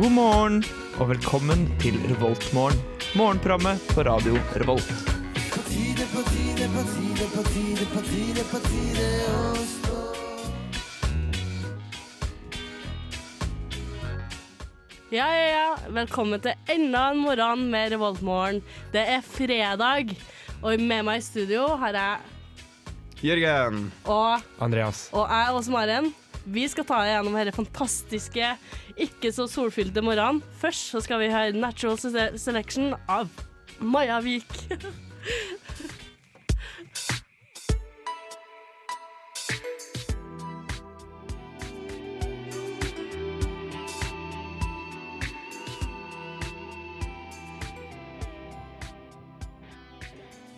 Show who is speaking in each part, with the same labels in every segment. Speaker 1: God morgen og velkommen til Revoltmorgen. Morgenprogrammet på radio Revolt.
Speaker 2: Ja, ja, ja. Velkommen til enda en morgen med Revoltmorgen. Det er fredag, og med meg i studio har jeg
Speaker 3: Jørgen.
Speaker 2: og,
Speaker 1: Andreas.
Speaker 2: og jeg og Maren. Vi skal ta gjennom denne fantastiske, ikke så solfylte morgenen. Først så skal vi høre Natural Se- Selection av Maja Vik.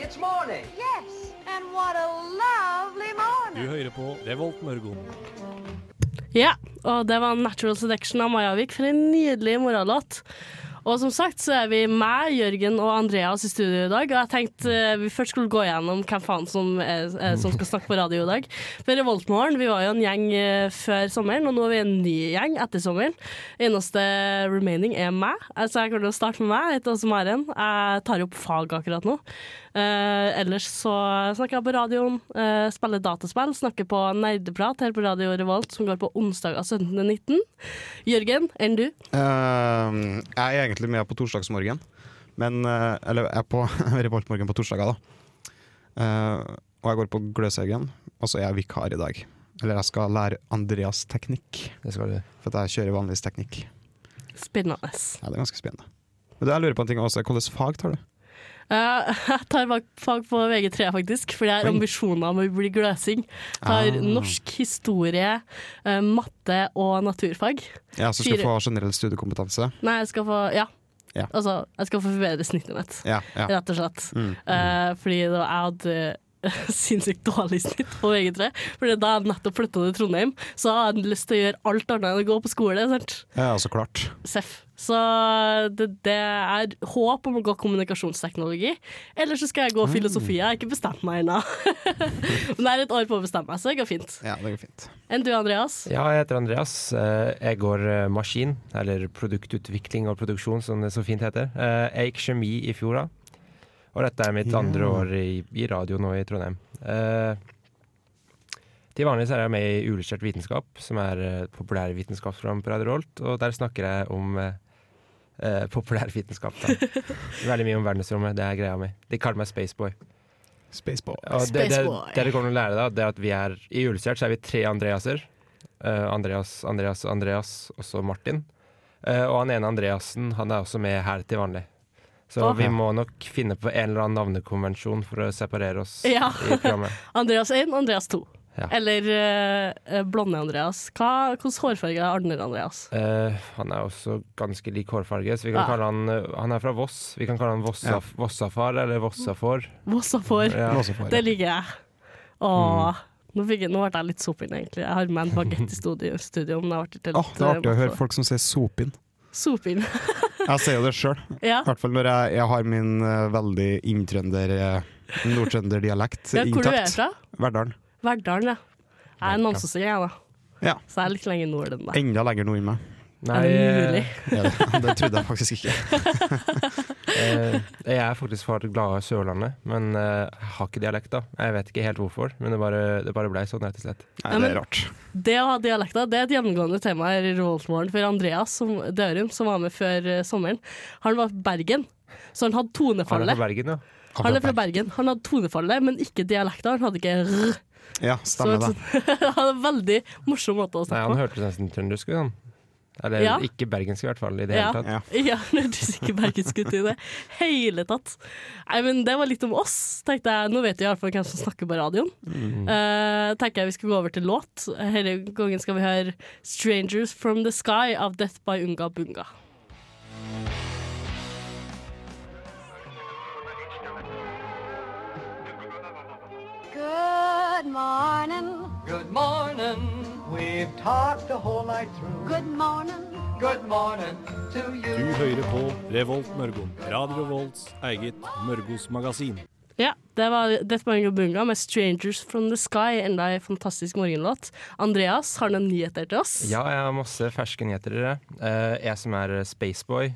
Speaker 4: It's morning.
Speaker 5: Yes, and what a lovely morning.
Speaker 2: Ja, og det var Natural Selection av Maja Vik for en nydelig morgenlåt. Og som sagt så er vi meg, Jørgen og Andreas i studio i dag, og jeg tenkte eh, vi først skulle gå gjennom hvem faen som, er, er, som skal snakke på radio i dag. For Revoltmorgen, vi var jo en gjeng eh, før sommeren, og nå er vi en ny gjeng etter sommeren. Eneste remaining er meg, så jeg kommer til å starte med meg. Jeg heter også Maren. Jeg tar opp fag akkurat nå. Eh, ellers så snakker jeg på radioen, eh, spiller dataspill, snakker på nerdeprat her på Radio Revolt, som går på onsdager 17.19. Jørgen, enn du?
Speaker 3: Ehm, jeg er egentlig med på torsdagsmorgen. Men, eh, eller jeg er på Revoltmorgen på torsdager, da. Eh, og jeg går på Gløshaugen, og så er jeg vikar i dag. Eller jeg skal lære Andreas teknikk,
Speaker 6: Det skal du.
Speaker 3: for at jeg kjører vanligvis teknikk.
Speaker 2: Spennende.
Speaker 3: Ja, det er ganske spennende. Men det jeg lurer på en ting også, hvilket fag tar du?
Speaker 2: Eh, jeg tar fag- fag på VG3, faktisk, fordi jeg har
Speaker 3: Oi.
Speaker 2: ambisjoner om å bli gløsing. Tar
Speaker 3: Ah.
Speaker 2: norsk, historie, eh, matte og naturfag.
Speaker 3: Ja, så skal
Speaker 2: Fire.
Speaker 3: du få generell studiekompetanse.
Speaker 2: Nei, jeg skal få Ja.
Speaker 3: Ja.
Speaker 2: Altså, jeg skal få forbedre snittet mitt.
Speaker 3: Ja, ja.
Speaker 2: rett og slett.
Speaker 3: Mm.
Speaker 2: Eh, fordi da jeg hadde sinnssykt dårlig snitt på VG3, Fordi da jeg nettopp flytta til Trondheim, så hadde jeg lyst til å gjøre alt annet enn å gå på skole. Sant?
Speaker 3: Ja, så klart.
Speaker 2: Seff. Så det, det er håp om å gå kommunikasjonsteknologi. Eller så skal jeg
Speaker 3: Mm.
Speaker 2: gå filosofi. Jeg har ikke bestemt meg ennå. Men det er et år på å bestemme meg, så det går fint.
Speaker 3: Ja, det går fint.
Speaker 2: Enn du, Andreas?
Speaker 6: Ja, jeg heter Andreas. Eh, Jeg går eh, maskin, eller produktutvikling og produksjon, som det så fint heter. Eh, Jeg gikk kjemi i fjor, da. Og dette er mitt
Speaker 3: Ja.
Speaker 6: andre år i, i radio nå i Trondheim. Eh, Til vanlig så er jeg med i Ulykkert vitenskap, som er eh, et populærvitenskapsprogram på Radio Rolt. Og der snakker jeg om eh, eh, populærvitenskap, da. Veldig mye om verdensrommet. Det er greia mi. De kaller meg Spaceboy.
Speaker 3: Spaceball.
Speaker 6: Ja, det, det,
Speaker 2: Spaceboy.
Speaker 6: det dere kommer til å lære, da, det er at vi er i Ullestjert så er vi tre Andreaser. Eh, Andreas, Andreas, Andreas, og så Martin. Eh, og han ene Andreasen han er også med her til vanlig. Så
Speaker 2: Hva?
Speaker 6: vi må nok finne på en eller annen navnekonvensjon for å separere oss
Speaker 2: Ja.
Speaker 6: i programmet.
Speaker 2: Andreas 1, Andreas 2.
Speaker 6: Ja.
Speaker 2: Eller eh, blonde Andreas. Hva, hvordan hårfarge har Arner Andreas?
Speaker 6: Eh, han er også ganske lik hårfarge, så vi kan
Speaker 2: Ja.
Speaker 6: kalle han eh, Han er fra Voss. Vi kan kalle han Vossa,
Speaker 3: Ja.
Speaker 6: Vossafar eller Vossafår.
Speaker 2: Vossa får.
Speaker 6: Ja.
Speaker 2: Det liker jeg. Åh, nå, fikk jeg, nå ble jeg litt sopinn, egentlig. Jeg har med en bagett i studio, studio men jeg ble litt
Speaker 3: Åh, det er artig å høre folk som sier sopinn.
Speaker 2: Sopinn.
Speaker 3: Jeg ser jo det sjøl.
Speaker 2: ja.
Speaker 3: I hvert fall når jeg, jeg har min eh, veldig inntrønder eh, nordtrønderdialekt
Speaker 2: ja. Hvor du er
Speaker 3: intakt.
Speaker 2: fra?
Speaker 3: Verdalen.
Speaker 2: Verdalen, ja. Jeg er namsåsing, jeg, da.
Speaker 3: Ja.
Speaker 2: Så jeg er litt lenger nord enn deg.
Speaker 3: Enda lenger nord enn meg.
Speaker 2: Er det mulig?
Speaker 3: Er det. det trodde jeg faktisk ikke.
Speaker 6: Eh, jeg er faktisk fra det glade Sørlandet, men eh, jeg har ikke dialekt, da. Jeg vet ikke helt hvorfor, men det bare, det bare blei sånn, rett og slett.
Speaker 3: Nei,
Speaker 2: Ja,
Speaker 3: det
Speaker 2: men-
Speaker 3: er rart.
Speaker 2: Det å ha dialekter det er et gjennomgående tema her i Rollsmorgen. For Andreas som, Dørum, som var med før eh, sommeren, han var fra Bergen. Så han hadde
Speaker 6: Han er fra
Speaker 2: tonefallet.
Speaker 6: Bergen, ja.
Speaker 2: Han er fra Bergen. Han hadde tonefallet, men ikke dialekter. Han hadde ikke r.
Speaker 3: Ja, stemmer det.
Speaker 2: Så- Han hadde en veldig morsom måte å
Speaker 6: Nei,
Speaker 2: snakke
Speaker 6: han
Speaker 2: på.
Speaker 6: hørtes nesten trøndersk ut, han. Eller
Speaker 2: Ja.
Speaker 6: ikke bergensk, i hvert fall. I det
Speaker 2: Ja.
Speaker 6: hele tatt.
Speaker 3: Ja.
Speaker 2: Ja, men du er ikke bergensk ut i det hele tatt. Nei, men det var litt om oss, tenkte jeg. Nå vet vi i hvert fall hvem som snakker på radioen. Eh, tenker jeg vi skal gå over til låt. Denne gangen skal vi høre 'Strangers From The Sky' av Death By Unga Bunga.
Speaker 5: Good morning.
Speaker 4: Good morning. We've talked the whole night through.
Speaker 5: Good morning.
Speaker 4: Good morning to you.
Speaker 7: Du hører på Revolt Mørgon. Radio Volts eget Mørgos magasin.
Speaker 2: Ja, det var Death Bunga Bunga med 'Strangers From The Sky', enda en fantastisk morgenlåt. Andreas, har du noen nyheter til oss?
Speaker 6: Ja, jeg har masse ferske nyheter. dere. Eh, jeg som er spaceboy,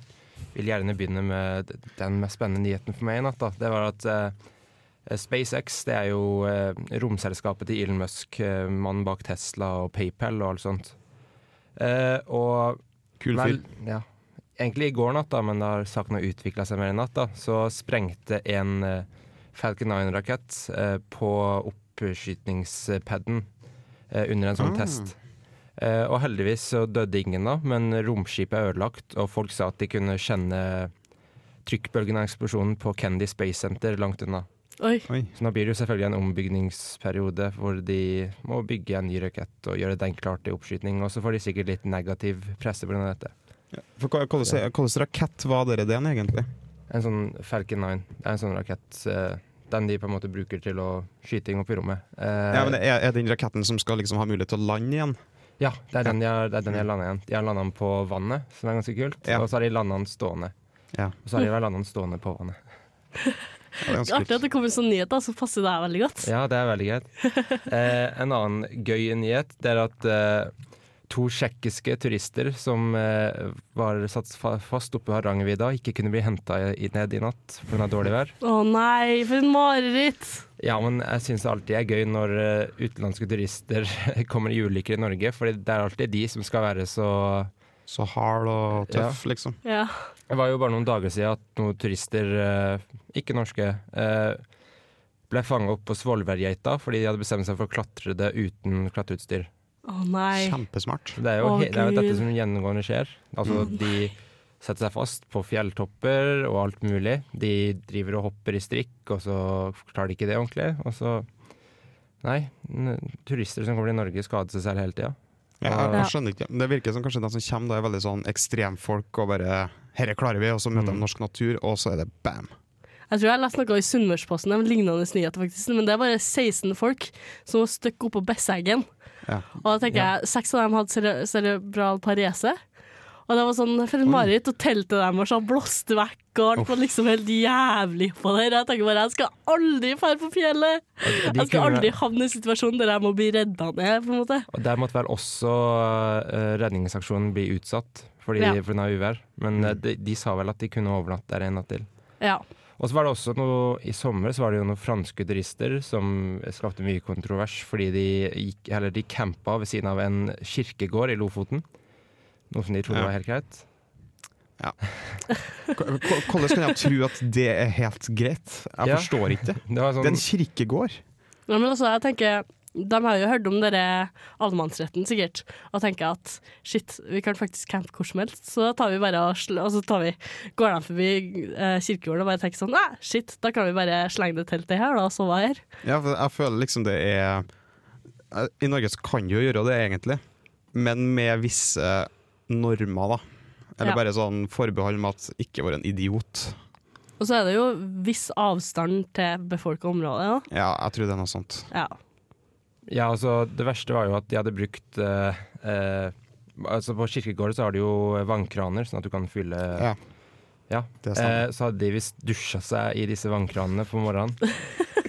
Speaker 6: vil gjerne begynne med den mest spennende nyheten for meg i natt. Da. Det var at eh, SpaceX, det er jo eh, romselskapet til Elon Musk, eh, mannen bak Tesla og PayPal og alt sånt. Eh, og
Speaker 3: Kul fyr.
Speaker 6: Vel, ja. Egentlig i går natt, da, men da har saken utvikla seg mer i natt, da, så sprengte en eh, Falcon 9-rakett eh, på oppskytingspaden eh, under en sånn
Speaker 3: Ah.
Speaker 6: test. Eh, og heldigvis så døde ingen da, men romskipet er ødelagt, og folk sa at de kunne kjenne trykkbølgen av eksplosjonen på Kennedy Space Center langt unna.
Speaker 2: Oi.
Speaker 3: Oi.
Speaker 6: Så nå blir det jo selvfølgelig en ombygningsperiode hvor de må bygge en ny rakett og gjøre den klar til oppskyting, og så får de sikkert litt negativ presse pga. dette.
Speaker 3: For hva- hvordan hvordan rakett var dere den, egentlig?
Speaker 6: En sånn Falcon 9. Det er en sånn rakett. eh, Den de på en måte bruker til å skyte ting opp i rommet. Eh,
Speaker 3: Ja, men er, er den raketten som skal liksom ha mulighet til å lande igjen?
Speaker 6: ja, det er den de har, det er den de har landa igjen. De har landa den på vannet, som er ganske kult.
Speaker 3: Ja.
Speaker 6: Og så har de landa den stående.
Speaker 3: Ja.
Speaker 6: Og så har de vel landa den stående på vannet.
Speaker 3: Ja, det er ganske
Speaker 2: Artig at
Speaker 3: kult.
Speaker 2: det kom en sånn nyhet, da, så passer det her veldig godt.
Speaker 6: Ja, det er veldig greit. Eh, en annen gøy nyhet det er at eh, to tsjekkiske turister som eh, var satt fa fast oppe ved Hardangervidda, ikke kunne bli henta ned i natt pga. dårlig vær.
Speaker 2: Å nei, for en mareritt!
Speaker 6: Ja, men jeg syns det alltid er gøy når eh, utenlandske turister kommer i ulykker i Norge, for det er alltid de som skal være så
Speaker 3: Så hard og tøff, liksom.
Speaker 2: Ja.
Speaker 6: Det var jo bare noen dager siden at noen turister, eh, ikke norske, eh, ble fanga opp på Svolværgeita fordi de hadde bestemt seg for å klatre det uten klatreutstyr.
Speaker 2: Å nei.
Speaker 3: Kjempesmart.
Speaker 6: Så Det er jo,
Speaker 2: Å,
Speaker 6: he det er jo
Speaker 2: Gud. Mm.
Speaker 6: dette som gjennomgående skjer. Altså, de setter seg fast på fjelltopper og alt mulig. De driver og hopper i strikk, og så klarer de ikke det ordentlig. Og så Nei, n turister som kommer til Norge, skader seg selv hele tida.
Speaker 3: Ja, jeg, jeg skjønner ikke. Men Det virker som kanskje de som kommer, da er veldig sånn ekstremfolk og bare Herre klarer vi, og så møter de
Speaker 6: Mm.
Speaker 3: norsk natur, og så er det bam!
Speaker 2: Jeg tror jeg har lest noe i Sunnmørsposten, en lignende nyhet faktisk, men det er bare 16 folk som var støkk oppå Besseggen.
Speaker 3: Ja.
Speaker 2: Og da tenker jeg, seks av dem hadde cere cerebral parese. Og det var sånn, for en mareritt, og teltet dem var sånn blåst vekk, og alt var liksom helt jævlig på det. Jeg tenker bare, jeg skal aldri fære på fjellet.
Speaker 6: Og, de
Speaker 2: Jeg skal
Speaker 6: kunne-
Speaker 2: aldri havne i en situasjon der jeg må bli redda ned, på en måte.
Speaker 6: og der måtte vel også eh, redningsaksjonen bli utsatt fordi
Speaker 2: Ja. Mm.
Speaker 6: pga. uvær. Men eh, de, de sa vel at de kunne overnatte der en natt til.
Speaker 2: Ja.
Speaker 6: Og så var det også noe, I sommer så var det jo noen franske turister som skapte mye kontrovers fordi de, gikk, eller de campa ved siden av en kirkegård i Lofoten. Noe som de trodde
Speaker 3: Ja.
Speaker 6: var helt greit.
Speaker 3: K- k- Hvordan kan jeg tro at det er helt greit? Jeg
Speaker 6: Ja.
Speaker 3: forstår ikke det.
Speaker 6: Det var
Speaker 3: Det er
Speaker 6: sånn,
Speaker 3: en kirkegård.
Speaker 2: Ja, men altså, jeg tenker De har jo hørt om dere allemannsretten, sikkert, og tenker at shit, vi kan faktisk campe hvor som helst. Så da tar vi bare og, sl og så tar vi, går de forbi eh, kirkegården og bare tenker sånn Nei, shit, da kan vi bare slenge det teltet her, da, og sove her.
Speaker 3: Ja, for jeg føler liksom det er I Norge så kan du jo gjøre det, egentlig, men med visse normer, da. Eller
Speaker 2: Ja.
Speaker 3: bare sånn forbehold med at ikke vær en idiot.
Speaker 2: Og så er det jo viss avstand til befolka område,
Speaker 3: Ja, jeg tror det er noe sånt.
Speaker 2: da. Ja.
Speaker 6: ja, altså, det verste var jo at de hadde brukt eh, eh, altså På kirkegården så har de jo vannkraner, sånn at du kan fylle
Speaker 3: Ja.
Speaker 6: Ja.
Speaker 3: Det
Speaker 6: Eh,
Speaker 3: stemmer.
Speaker 6: så hadde de visst dusja seg i disse vannkranene på morgenen.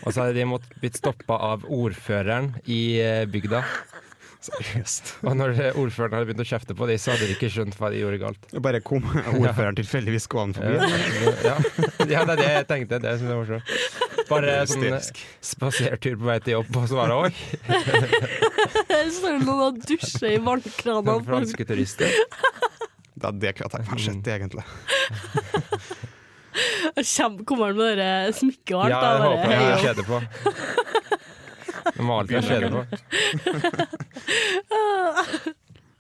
Speaker 6: Og så hadde de måttet blitt stoppa av ordføreren i eh, bygda.
Speaker 3: Eh. Seriøst.
Speaker 6: Og når ordføreren hadde begynt å kjefte på dem, så hadde de ikke skjønt hva de gjorde galt.
Speaker 3: Jeg Bare kom ordføreren tilfeldigvis gående
Speaker 6: Ja,
Speaker 3: forbi.
Speaker 6: ja. ja det er det jeg tenkte. Det synes jeg var morsomt. Bare
Speaker 3: Det er
Speaker 6: sånn eh,
Speaker 3: hysterisk.
Speaker 6: spasertur på vei til jobb, og så var det oi,
Speaker 2: Jeg står noen og dusjer i vannkranene.
Speaker 6: noen
Speaker 2: for-
Speaker 6: franske turister.
Speaker 3: Det er det kunne jeg tenkt meg å sett, egentlig.
Speaker 2: Kjem- Kommer han med dere smykket og alt?
Speaker 6: Ja,
Speaker 2: da,
Speaker 6: jeg
Speaker 2: bare,
Speaker 6: håper de
Speaker 2: hei,
Speaker 6: har
Speaker 2: og-
Speaker 6: kjede på. De må alltid ha kjede på.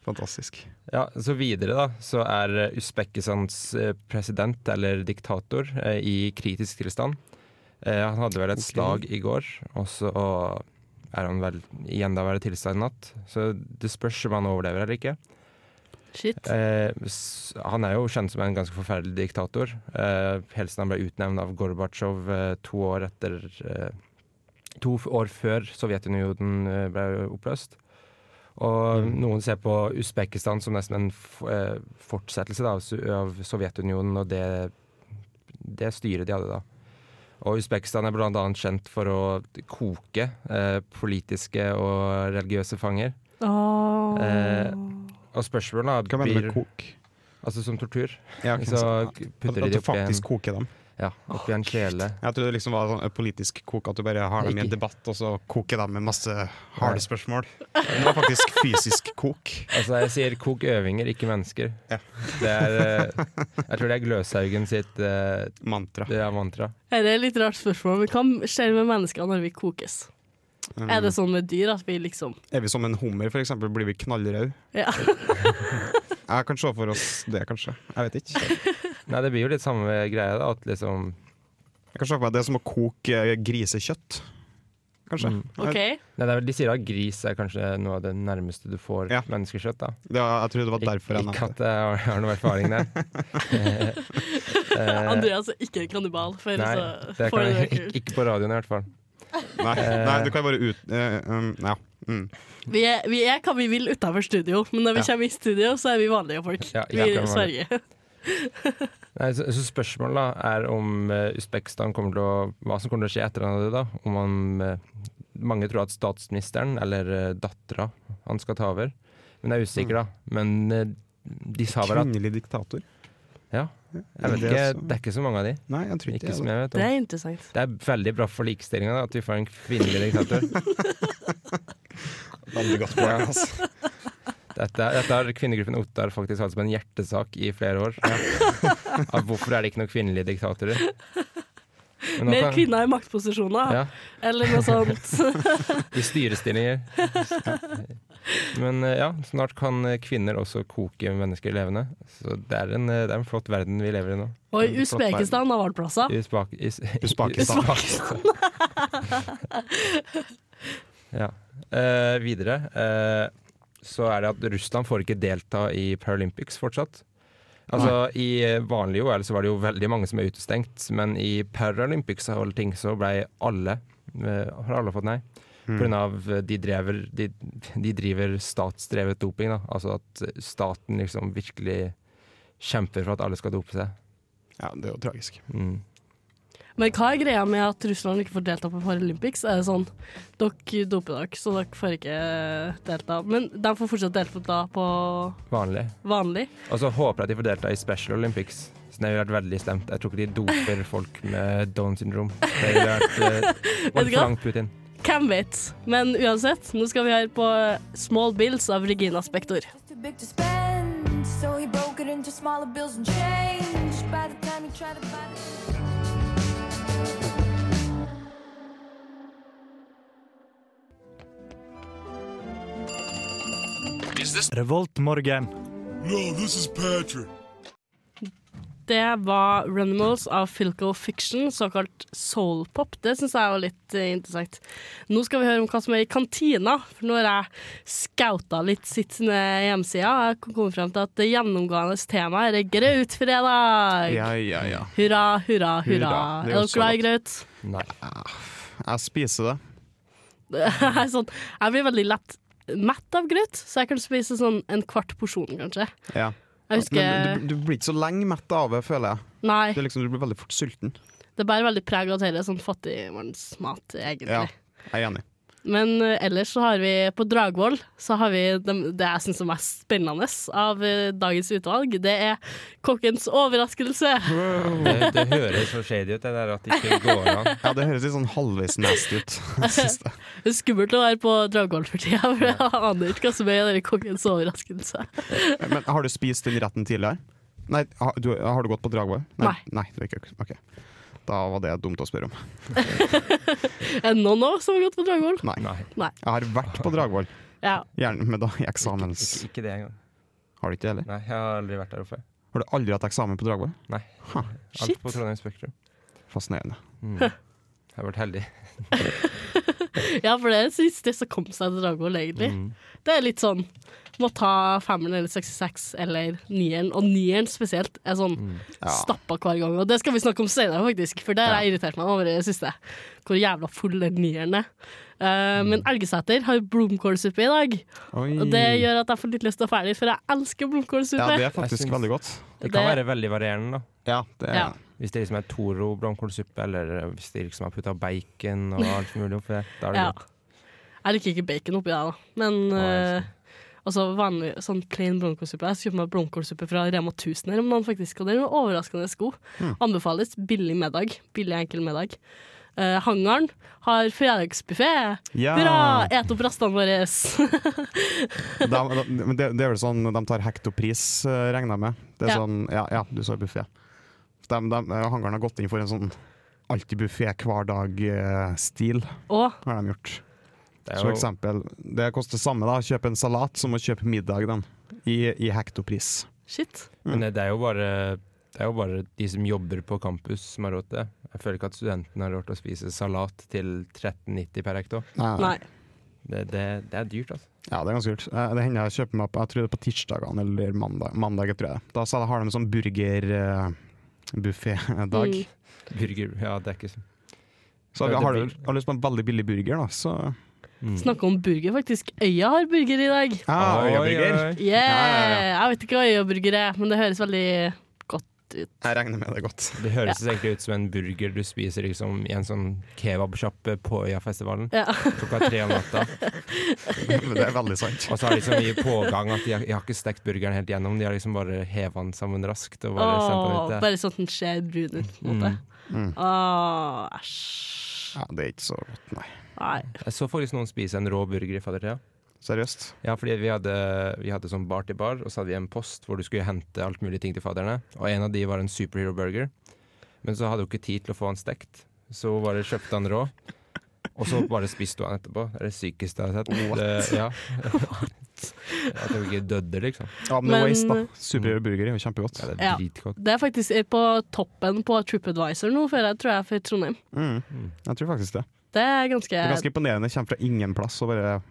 Speaker 3: Fantastisk.
Speaker 6: Ja, så videre, da, så er eh, Usbekistans eh, president, eller diktator, eh, i kritisk tilstand. Eh, Han hadde vel et slag i går, og så er han vel i enda verre tilstand i natt. Så det spørs om han overlever eller ikke.
Speaker 2: Shit.
Speaker 6: Eh, s- han er jo kjent som en ganske forferdelig diktator. Eh, helt siden han ble utnevnt av Gorbatsjov eh, to år etter eh, To f- år før Sovjetunionen eh, ble oppløst. Og
Speaker 3: Mm.
Speaker 6: noen ser på Usbekistan som nesten en f eh, fortsettelse da, av Su- av Sovjetunionen og det, det styret de hadde da. Og Usbekistan er bl.a. kjent for å koke eh, politiske og religiøse fanger.
Speaker 2: Åh.
Speaker 6: Eh, Og spørsmålet
Speaker 3: Hva
Speaker 6: da
Speaker 3: mener du
Speaker 6: blir
Speaker 3: med kok?
Speaker 6: altså som tortur.
Speaker 3: Ja, ok,
Speaker 6: Så
Speaker 3: sånn. at,
Speaker 6: putter de
Speaker 3: at
Speaker 6: det
Speaker 3: du
Speaker 6: oppi en,
Speaker 3: faktisk koker dem.
Speaker 6: ja, oppi en kjele.
Speaker 3: Jeg trodde det liksom var sånn politisk kok, at du bare har dem i en
Speaker 6: Ikke.
Speaker 3: debatt, og så koker dem med masse
Speaker 6: Nei.
Speaker 3: harde spørsmål. Det var faktisk fysisk kok.
Speaker 6: Altså jeg sier kok øvinger, ikke mennesker.
Speaker 3: Ja.
Speaker 6: Det er eh, Jeg tror det er Gløshaugen sitt eh,
Speaker 3: Mantra.
Speaker 6: det er mantra.
Speaker 2: Dette er et litt rart spørsmål, men hva skjer med mennesker når vi kokes?
Speaker 6: Mm.
Speaker 2: Er det sånn med dyr at vi liksom
Speaker 3: Er vi som en hummer, for eksempel? Blir vi knallrøde?
Speaker 2: Ja.
Speaker 3: Jeg kan se for oss det, kanskje. Jeg vet ikke.
Speaker 6: Nei, det blir jo litt samme greia, da. At liksom
Speaker 3: Jeg kan se for meg det er som å koke eh, grisekjøtt. Kanskje.
Speaker 6: Mm.
Speaker 2: OK?
Speaker 3: Jeg,
Speaker 6: Nei, det er vel, De sier at gris er kanskje noe av det nærmeste du får
Speaker 3: Ja.
Speaker 6: menneskekjøtt. da
Speaker 3: det var, jeg tror det var derfor jeg
Speaker 6: Ikke
Speaker 3: nevnte
Speaker 6: at jeg har, har noe erfaring der. Eh,
Speaker 2: Andreas er ikke en kannibal, for,
Speaker 6: nei,
Speaker 2: så,
Speaker 6: det
Speaker 2: for
Speaker 6: kan jeg,
Speaker 2: det sånn. er
Speaker 6: ikke,
Speaker 2: kult.
Speaker 6: ikke på radioen i hvert fall.
Speaker 3: det. Nei, nei, du kan bare ut eh, um, Ja. Mm.
Speaker 2: Vi er, vi er hva vi vil utenfor studio, men når vi
Speaker 3: Ja.
Speaker 2: kommer i studio, så er vi vanlige folk.
Speaker 6: Ja,
Speaker 2: vi
Speaker 6: jævla vanlige.
Speaker 2: sverger.
Speaker 6: Nei, så, så spørsmålet da er om eh, Usbekistan kommer til å Hva som kommer til å skje etter han hadde da. Om han eh, Mange tror at statsministeren eller uh, dattera han skal ta over. Men jeg er
Speaker 3: Mm.
Speaker 6: usikker, da. Men eh, de sa vel at
Speaker 3: Kvinnelig diktator?
Speaker 6: Ja. Jeg vet
Speaker 3: Det
Speaker 6: ikke,
Speaker 3: er så-
Speaker 6: det er ikke så mange av de.
Speaker 3: Nei, jeg tror ikke,
Speaker 6: Ikke som
Speaker 3: det.
Speaker 6: jeg vet
Speaker 2: Det
Speaker 6: om.
Speaker 2: er interessant.
Speaker 6: Det er veldig bra for likestillinga at vi får en kvinnelig diktator.
Speaker 3: Veldig godt poeng, altså.
Speaker 6: Dette, dette har kvinnegruppen Ottar faktisk hatt som en hjertesak i flere år. Av hvorfor er det ikke noen kvinnelige diktatorer? Men nå
Speaker 2: Mer
Speaker 6: kan-
Speaker 2: kvinner i maktposisjoner,
Speaker 6: Ja,
Speaker 2: eller noe sånt.
Speaker 6: I styrestillinger. Men eh, ja, snart kan kvinner også koke mennesker levende. Så det er en, eh, det er en flott verden vi lever i nå.
Speaker 2: Og i Usbekistan har valgplasser.
Speaker 6: I Usbak- i s-
Speaker 3: Usbakistan.
Speaker 6: ja. Eh, videre eh, så er det at Russland får ikke delta i Paralympics fortsatt. Altså I eh, vanlige OL så var det jo veldig mange som er utestengt, men i Paralympics og alle ting så blei alle eh, har alle fått nei. På grunn av eh, de, drever, de, de driver statsdrevet doping. Da. Altså at staten liksom virkelig kjemper for at alle skal dope seg.
Speaker 3: Ja, det er jo tragisk.
Speaker 6: Mm.
Speaker 2: Men hva er greia med at Russland ikke får delta på Paralympics? Er det sånn dere doper dere, så dere får ikke delta. Men de får fortsatt delta på
Speaker 6: Vanlig.
Speaker 2: vanlig.
Speaker 6: Og så håper jeg at de får delta i Special Olympics. Så det ville vært veldig slemt. Jeg tror ikke de doper folk med Down syndrom. Det ville vært eh,
Speaker 2: Vet du hva?
Speaker 6: altfor langt Putin.
Speaker 2: Hvem vet? Men uansett, nå skal vi høre på Small Bills av Regina Spektor.
Speaker 5: Too big to spend, so he broke it into smaller bills and change. By the time you try to buy the
Speaker 1: Revoltmorgen.
Speaker 2: Det var Runimals av Philco Fiction, såkalt soulpop. Det syns jeg var litt eh, interessant. Nå skal vi høre om hva som er i kantina, for nå har jeg scouta litt sitt sine hjemmesider. og Jeg kom kommet frem til at det gjennomgående temaet er grautfredag.
Speaker 3: Ja, ja, ja.
Speaker 2: Hurra, hurra, hurra.
Speaker 3: Hurra.
Speaker 2: Er
Speaker 3: Det er jo
Speaker 2: dere
Speaker 3: så
Speaker 2: glad i graut?
Speaker 6: Nei.
Speaker 3: Jeg spiser det.
Speaker 2: Jeg er sånn, jeg blir veldig lett mett av graut, så jeg kan spise sånn en kvart porsjon, kanskje.
Speaker 3: Ja.
Speaker 2: Jeg husker
Speaker 3: Men du, du blir ikke så lenge mett av det, føler jeg.
Speaker 2: Nei,
Speaker 3: Du, er liksom, du blir veldig fort sulten.
Speaker 2: det bærer veldig preg av at dette er sånn fattigmannsmat, egentlig.
Speaker 3: Ja, jeg er enig.
Speaker 2: Men eh, ellers så har vi på Dragvoll så har vi dem- det jeg syns er mest spennende av eh, dagens utvalg. Det er kokkens overraskelse.
Speaker 6: Det, det høres så shady ut, det der at det ikke går an.
Speaker 3: Ja, det høres litt sånn halvveis nasty ut. Jeg synes det.
Speaker 2: Det er skummelt å være på Dragvoll for tida, for jeg aner ikke hva som er i denne kokkens overraskelse.
Speaker 3: Men har du spist den retten tidligere? Nei, har du, har du gått på Dragvoll?
Speaker 2: Nei.
Speaker 3: Nei, det er ikke, ok. Da var det dumt å spørre om.
Speaker 2: Er det noen nå som har gått på Dragvoll?
Speaker 3: Nei.
Speaker 6: Nei,
Speaker 2: Nei.
Speaker 3: Jeg har vært på Dragvoll,
Speaker 2: Ja.
Speaker 3: gjerne med da i eksamens...
Speaker 6: ikke, ikke det engang.
Speaker 3: Har du ikke det heller?
Speaker 6: Nei, jeg har aldri vært der oppe.
Speaker 3: Har du aldri hatt eksamen på Dragvoll?
Speaker 6: Nei.
Speaker 3: Ha,
Speaker 6: Alt på Trondheim Spektrum.
Speaker 3: fascinerende.
Speaker 6: Mm. Jeg har vært heldig.
Speaker 2: ja, for det er det siste som kom seg til Dragvoll, egentlig. Det er litt sånn må ta femmeren eller 66 eller nieren, og nieren spesielt er sånn
Speaker 3: Ja.
Speaker 2: stappa hver gang. Og det skal vi snakke om senere, faktisk, for det har jeg irritert meg over i det siste. Hvor jævla full den nieren er. Eh,
Speaker 3: Mm.
Speaker 2: Men Elgesæter har blomkålsuppe i dag,
Speaker 3: Oi.
Speaker 2: og det gjør at jeg får litt lyst til å ferdig, for jeg elsker
Speaker 3: Mm. Ja,
Speaker 2: blomkålsuppe.
Speaker 3: det er faktisk
Speaker 6: Jeg synes-
Speaker 3: veldig godt.
Speaker 6: Det kan
Speaker 2: Det-
Speaker 6: være veldig varierende, da.
Speaker 3: Ja, det er...
Speaker 2: Ja.
Speaker 6: Hvis det liksom er Toro blomkålsuppe, eller hvis de liksom har putta bacon og alt mulig oppi det, da er det
Speaker 2: Ja.
Speaker 6: godt.
Speaker 2: Jeg liker ikke bacon oppi der, da. Men
Speaker 6: Nei,
Speaker 2: eh, altså vanlig sånn plain blomkålsuppe. Jeg kjøpte meg blomkålsuppe fra Rema 1000 her om dagen, faktisk. Og den var overraskende god.
Speaker 3: Hmm.
Speaker 2: Anbefales. Billig middag. Billig, enkel middag. Eh, hangaren har fredagsbuffé.
Speaker 3: Ja.
Speaker 2: Hurra! Et opp restene våre.
Speaker 3: Da- da- Men det, det er vel sånn de tar hektopris, eh, regner jeg med. Det er
Speaker 2: Ja.
Speaker 3: sånn, ja, ja, du sa buffé. De, de, eh, hangaren har gått inn for en sånn alltid buffé hver dag-stil,
Speaker 2: Og
Speaker 3: har de gjort.
Speaker 6: Det
Speaker 3: Så
Speaker 6: er jo-
Speaker 3: eksempel, det koster samme da, å kjøpe en salat som å kjøpe middag den, i, i hektopris.
Speaker 2: shit.
Speaker 6: Men det er jo bare det er jo bare de som jobber på campus som har råd til det. Jeg føler ikke at studentene har råd til å spise salat til 13,90 per hekto.
Speaker 2: Nei.
Speaker 6: Det, det, det er dyrt, altså.
Speaker 3: Ja, det er ganske kult. Eh, Det hender jeg kjøper meg på jeg tror det er på tirsdagene eller mandag, mandag tror jeg. det. Da så har de sånn burgerbuffé-dag.
Speaker 2: Mm.
Speaker 6: Burger, ja, det er ikke så
Speaker 3: Så
Speaker 6: Ja, det
Speaker 3: har du
Speaker 6: blir-
Speaker 3: har du lyst på en veldig billig burger, da, så
Speaker 6: Mm.
Speaker 2: Snakke om burger, faktisk. Øya har burger i dag.
Speaker 3: ah,
Speaker 6: Oi,
Speaker 3: Øyaburger.
Speaker 6: oi, oi.
Speaker 2: Yeah! Jeg vet ikke hva øyaburger er, men det høres veldig godt ut.
Speaker 3: Jeg regner med det er godt.
Speaker 6: Det høres egentlig ut som en burger du spiser liksom, i en sånn kebabsjappe på Øyafestivalen
Speaker 2: Ja.
Speaker 6: klokka tre om natta.
Speaker 3: Det er veldig sant.
Speaker 6: Og så har de så mye pågang at de har, de har ikke stekt burgeren helt gjennom. De har liksom bare heva den sammen raskt og bare sendt
Speaker 2: Åh,
Speaker 6: den ut.
Speaker 2: bare sånn at den ser brun ut, på en måte.
Speaker 6: Mm.
Speaker 3: Ah.
Speaker 2: Åh, æsj.
Speaker 3: Mm. Ja, det er ikke så godt, nei.
Speaker 2: Nei.
Speaker 6: Jeg Mm. så faktisk noen spise en rå burger i faddertida.
Speaker 3: Seriøst.
Speaker 6: Ja, fordi vi hadde, vi hadde sånn bar til bar, og så hadde vi en post hvor du skulle hente alt mulig ting til fadderne. Og en av de var en superhero burger. Men så hadde hun ikke tid til å få han stekt, så hun bare kjøpte han rå. Og så bare spiste hun han etterpå. Det er det sykeste jeg har sett. Det- ja. At hun ikke døde, liksom.
Speaker 3: Ja, men,
Speaker 2: Men-
Speaker 3: waste, da. Superhero burger er jo kjempegodt.
Speaker 6: Ja, det
Speaker 2: Ja.
Speaker 6: er dritgodt.
Speaker 2: Det er faktisk på toppen på TripAdvisor nå, føler jeg, tror jeg, for Trondheim.
Speaker 3: Mm. Jeg tror faktisk det.
Speaker 2: Det er ganske,
Speaker 3: Det er ganske imponerende. Kommer fra ingen plass og bare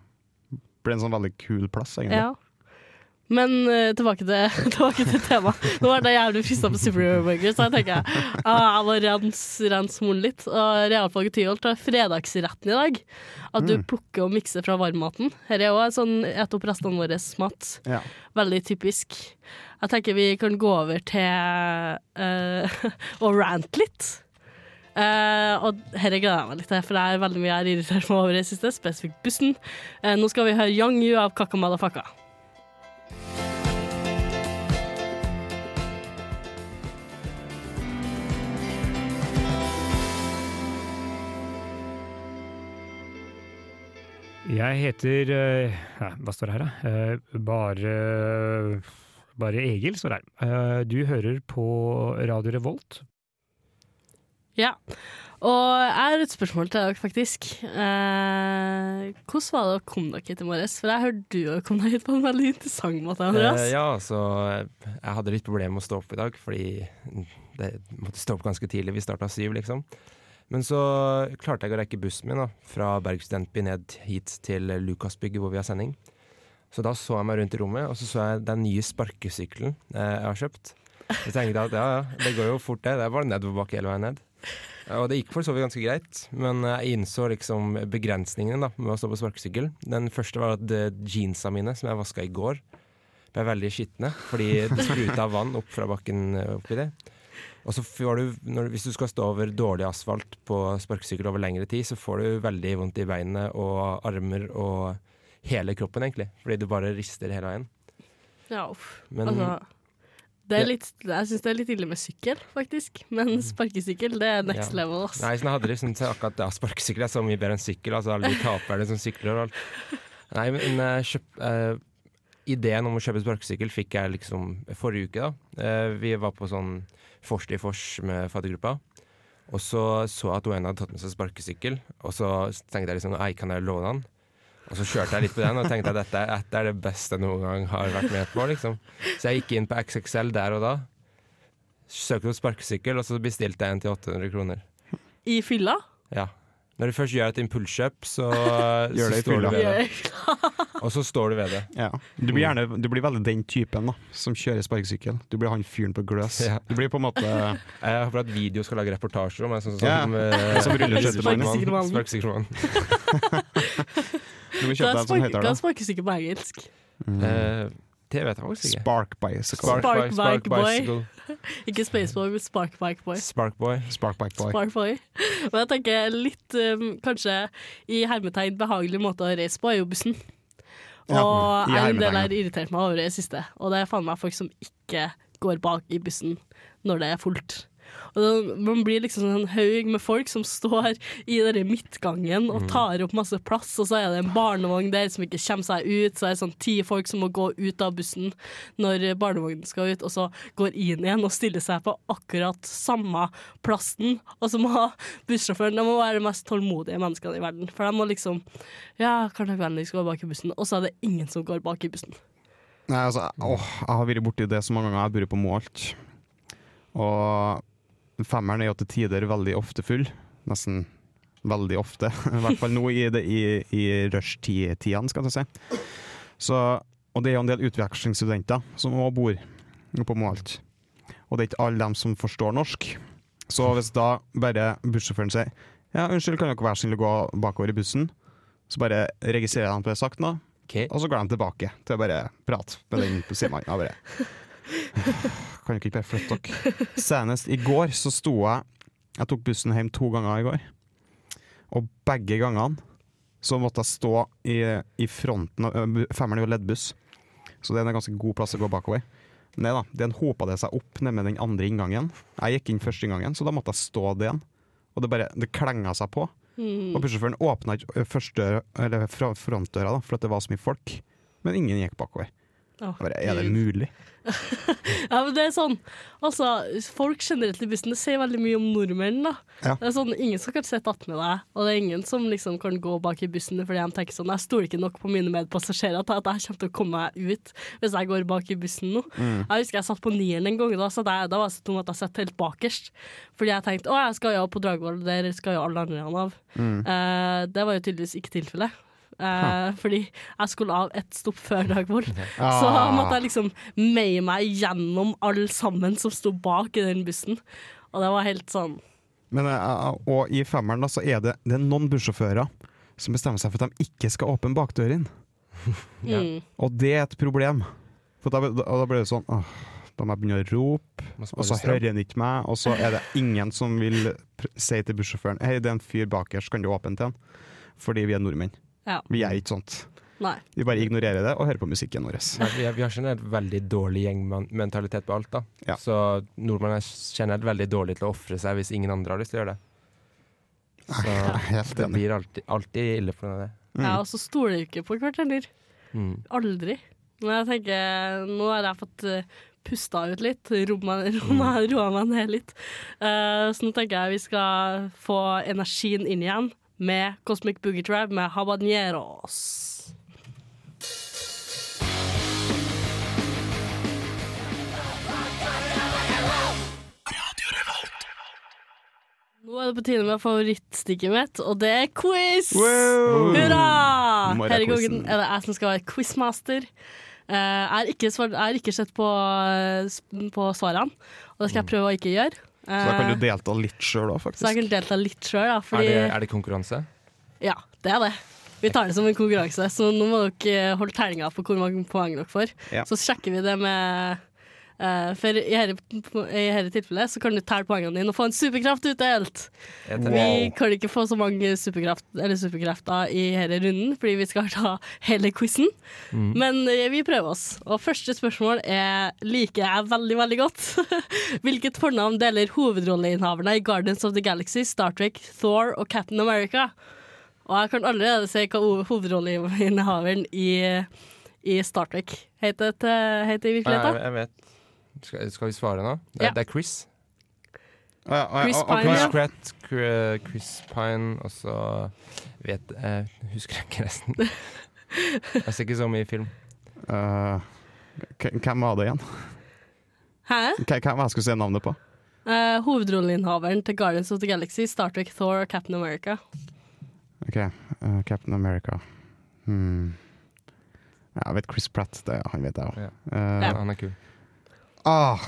Speaker 3: blir en sånn veldig kul plass, egentlig.
Speaker 2: Ja. Men eh, tilbake til, tilbake til temaet. Nå var det jævlig frista på Superhero Burger, så jeg tenker jeg ah, jeg må rense rens munnen litt. Og realfaget Tyholt har fredagsretten i dag. At du plukker og mikser fra varmmaten. Her er òg sånn et opp restene våre-mat.
Speaker 3: Ja.
Speaker 2: Veldig typisk. Jeg tenker vi kan gå over til eh, å rante litt. Eh, og dette gleder jeg meg litt til, for det er veldig mye jeg har irritert meg over i det siste, spesifikt bussen. Eh, nå skal vi høre Yang Yu av Kakka Madafaka.
Speaker 7: Jeg heter eh, ja, Hva står det her, da? Eh, Bare, bare Egil står det her. Eh, Du hører på Radio Revolt.
Speaker 2: Ja. Og jeg har et spørsmål til dere, faktisk. Eh, hvordan var det å komme dere hit i morges? For jeg hørte du også kom deg hit på en veldig interessant måte. Andreas.
Speaker 6: Eh, ja, så jeg hadde litt problemer med å stå opp i dag, fordi det måtte stå opp ganske tidlig. Vi starta syv, liksom. Men så klarte jeg å rekke bussen min da, fra Berg studentby ned hit til Lukasbygget, hvor vi har sending. Så da så jeg meg rundt i rommet, og så så jeg den nye sparkesykkelen eh, jeg har kjøpt. Jeg tenkte at ja, ja, det går jo fort, det. Det er bare nedoverbakke hele veien ned. Og det gikk for så vidt ganske greit, men jeg innså liksom begrensningene da, med å stå på sparkesykkel. Den første var at eh, jeansa mine, som jeg vaska i går, ble veldig skitne fordi det spruta vann opp fra bakken eh, oppi det. Og så får du, når, hvis du skal stå over dårlig asfalt på sparkesykkel over lengre tid, så får du veldig vondt i beinet og armer og hele kroppen, egentlig. Fordi du bare rister hele veien.
Speaker 2: Ja, uff.
Speaker 6: Men-
Speaker 2: altså, det er litt, jeg syns det er litt ille med sykkel, faktisk. Men sparkesykkel, det er next
Speaker 6: Mm. Ja.
Speaker 2: level. Ass.
Speaker 6: Nei, sånn jeg hadde liksom til akkurat ja, sparkesykkel er så mye bedre enn sykkel. Altså alle de taperne som sykler og alt. Nei, men eh, kjøp, eh, ideen om å kjøpe sparkesykkel fikk jeg liksom forrige uke, da. Eh, vi var på sånn Fors til Fors med faddergruppa. Og så så jeg at hun ene hadde tatt med seg sparkesykkel, og så tenkte jeg liksom Ei, kan jeg låne den? Og så kjørte jeg litt på den og tenkte at dette, dette er det beste jeg noen gang har vært med på. liksom. Så jeg gikk inn på XXL der og da, søkte opp sparkesykkel, og så bestilte jeg en til 800 kroner.
Speaker 2: I fylla?
Speaker 6: Ja. Når du først gjør et impulskjøp, så,
Speaker 3: Gjør
Speaker 6: så
Speaker 3: det i
Speaker 6: står du
Speaker 3: fylla.
Speaker 6: ved det.
Speaker 2: Ja.
Speaker 6: Og så står du ved det.
Speaker 3: Ja. Du, blir gjerne, du blir veldig den typen da, som kjører sparkesykkel. Du blir han fyren på gløs.
Speaker 6: Ja.
Speaker 3: Du blir på en måte
Speaker 6: Jeg håper at video skal lage reportasjer om meg, sånn
Speaker 3: Ja.
Speaker 6: som eh,
Speaker 3: Som rulleskøytemann.
Speaker 6: Sparkesykkelmannen. Sparkesykkelmannen.
Speaker 3: Du
Speaker 2: Hva
Speaker 3: vil kjøpe deg
Speaker 2: er
Speaker 3: en sånn
Speaker 2: sparke- hva er
Speaker 3: høyttaler. Mm.
Speaker 2: sparkesykkel på engelsk?
Speaker 6: Eh, det vet jeg faktisk ikke.
Speaker 3: Spark bicycle.
Speaker 2: Spark bike boy.
Speaker 6: bicycle.
Speaker 2: Ikke Spaceboy, men Sparkbikeboy.
Speaker 6: Sparkboy.
Speaker 3: Sparkbike Boy.
Speaker 2: Sparkboy. Men jeg tenker litt, um, kanskje i hermetegn, behagelig måte å reise på, er jo bussen. Og
Speaker 3: Ja, i
Speaker 2: jeg har en del
Speaker 3: hermetegn.
Speaker 2: har irritert meg over det i siste. Og det er faen meg folk som ikke går bak i bussen når det er fullt. Og det, man blir liksom sånn en haug med folk som står i denne midtgangen og tar opp masse plass, og så er det en barnevogn der som ikke kommer seg ut, så er det sånn ti folk som må gå ut av bussen når barnevognen skal ut, og så går inn igjen og stiller seg på akkurat samme plassen. Og så må bussjåføren de må være de mest tålmodige menneskene i verden, for de må liksom Ja, kan dere vennligst gå bak i bussen? Og så er det ingen som går bak i bussen.
Speaker 3: Nei, altså, åh, jeg har vært borti det så mange ganger. Jeg bor jo på Målt. Og femmeren er jo til tider veldig ofte full. Nesten veldig ofte. I hvert fall nå i, det- i, i rushtidene, skal jeg si. Så, og det er jo en del utvekslingsstudenter som også bor på Målt. Og det er ikke alle dem som forstår norsk. Så hvis da bare bussjåføren sier ja, unnskyld, kan dere være snill å gå bakover i bussen? Så bare registrerer de på det sakte, da.
Speaker 6: Ok.
Speaker 3: Og så går de tilbake til å bare prate med den simannen. Og bare Kan dere ikke bare flytte dere? Senest i går så sto jeg Jeg tok bussen hjem to ganger i går. Og begge gangene så måtte jeg stå i, i fronten av ø, Femmeren er jo leddbuss, så det er en ganske god plass å gå bakover. Nei da, den hopa det seg opp ned med den andre inngangen. Jeg gikk inn første inngangen, så da måtte jeg stå den. Og det bare Det klenga seg på. Og bussjåføren åpna ikke eh, første, eller fra frontdøra, da, for at det var så mye folk. Men ingen gikk bakover.
Speaker 2: Å,
Speaker 3: Jeg Bare, er det
Speaker 2: Gud.
Speaker 3: mulig?
Speaker 2: Ja, men det er sånn Altså, folk generelt i bussen Det sier veldig mye om nordmenn da
Speaker 3: Ja.
Speaker 2: Det er sånn, ingen som kan sette att med deg Og det er ingen som liksom kan gå bak i bussen Fordi de tenker sånn, jeg stoler ikke nok på mine medpassasjerer Til at jeg kommer til å komme meg ut Hvis jeg går bak i bussen nå Jeg husker jeg satt på nieren en gang Da, så da, da var jeg så tom at jeg satt helt bakerst Fordi jeg tenkte, å jeg skal jo på Dragvoll Der skal jo alle andre han av Eh, Det var jo tydeligvis ikke tilfelle Eh, Fordi jeg skulle av et stopp før Dragvoll Så
Speaker 3: Ah.
Speaker 2: måtte jeg liksom meie meg gjennom alle sammen som sto bak i den bussen. Og det var helt sånn
Speaker 3: Men, eh, og i femmeren da, så er det, det er noen bussjåfører som bestemmer seg for at de ikke skal åpne bakdøren.
Speaker 2: mm.
Speaker 3: Og det er et problem. For da, da, da blir det sånn åh, Da må jeg begynne å rope,
Speaker 6: Må spare
Speaker 3: og så
Speaker 6: strøm.
Speaker 3: hører han ikke meg. Og så er det ingen som vil pr si til bussjåføren Hei, det er en fyr bakerst, kan du åpne til han? Fordi vi er nordmenn.
Speaker 2: Ja.
Speaker 3: Vi er ikke sånt.
Speaker 2: Nei.
Speaker 3: Vi bare ignorerer det og hører på musikken vår.
Speaker 6: Nei, Vi, vi har generelt veldig dårlig gjengmentalitet på alt. da
Speaker 3: Ja.
Speaker 6: Så nordmenn er generelt veldig dårlig til å ofre seg hvis ingen andre har lyst til å gjøre det. Så
Speaker 3: Helt
Speaker 6: det
Speaker 3: enig.
Speaker 6: blir alltid, alltid ille for Mm. noen av det.
Speaker 2: Ja, og så stoler jeg ikke på hverandre. Aldri. Men jeg tenker, nå har jeg fått eh, pusta ut litt, roa roa meg ned litt. Eh, så nå tenker jeg vi skal få energien inn igjen med Cosmic Boogie Drive med Habaneros. Nå er det på tide med favorittstikket mitt, og det er quiz!
Speaker 3: Wow!
Speaker 2: Hurra!
Speaker 3: Må jeg
Speaker 2: Her i
Speaker 3: quizzen?
Speaker 2: gangen er det jeg som skal være quizmaster. Eh, Jeg har ikke, svar- jeg har ikke sett på, eh, sp- på svarene, og det skal jeg prøve å ikke gjøre.
Speaker 3: Mm. Så da kan
Speaker 2: Eh,
Speaker 3: du delta litt sjøl òg,
Speaker 2: så jeg
Speaker 3: faktisk.
Speaker 2: kan delta litt sjøl, da. Fordi,
Speaker 6: Er, det, er det konkurranse?
Speaker 2: Ja, det er det. Vi tar det som en konkurranse, så nå må dere eh, holde tellinga på hvor mange poeng dere får.
Speaker 3: Ja.
Speaker 2: Så sjekker vi det med eh, For i dette tilfellet så kan du telle poengene dine og få en superkraft utdelt.
Speaker 6: Jeg tenker-
Speaker 2: Vi kan ikke få så mange superkraft, eller superkrefter i hele runden, fordi vi skal ta hele quizen.
Speaker 6: Mm.
Speaker 2: Men eh, vi prøver oss. Og første spørsmål er liker jeg veldig, veldig godt. Hvilket fornavn deler hovedrolleinnehaverne i Guardians of the Galaxy, Star Trek, Thor og Captain America? Og jeg kan allerede se hva ho- hovedrolleinnehaveren i, i Star Trek heter, til- heter i
Speaker 6: Nei, jeg,
Speaker 2: virkeligheten.
Speaker 6: jeg vet. Skal, skal vi svare nå? Det,
Speaker 2: Ja.
Speaker 6: det er Chris.
Speaker 3: Ah, ja, ah, ja,
Speaker 2: Chris
Speaker 3: ah, ah,
Speaker 2: Pine,
Speaker 6: Chris
Speaker 2: ja.
Speaker 6: Pratt, Cr- eh, Chris Pine, og så vet jeg Husker jeg ikke resten. Jeg ser ikke så mye film.
Speaker 3: Eh, k- hvem var det igjen?
Speaker 2: Hæ?
Speaker 3: K hvem jeg skulle si navnet på?
Speaker 2: Eh, hovedrolleinnehaveren til Guardians of the Galaxy, Star Trek, Thor og Captain America.
Speaker 3: Ok, eh, Captain America. Hmm. Ja, jeg vet Chris Pratt, det, han vet jeg òg.
Speaker 6: Ja. Han er kul.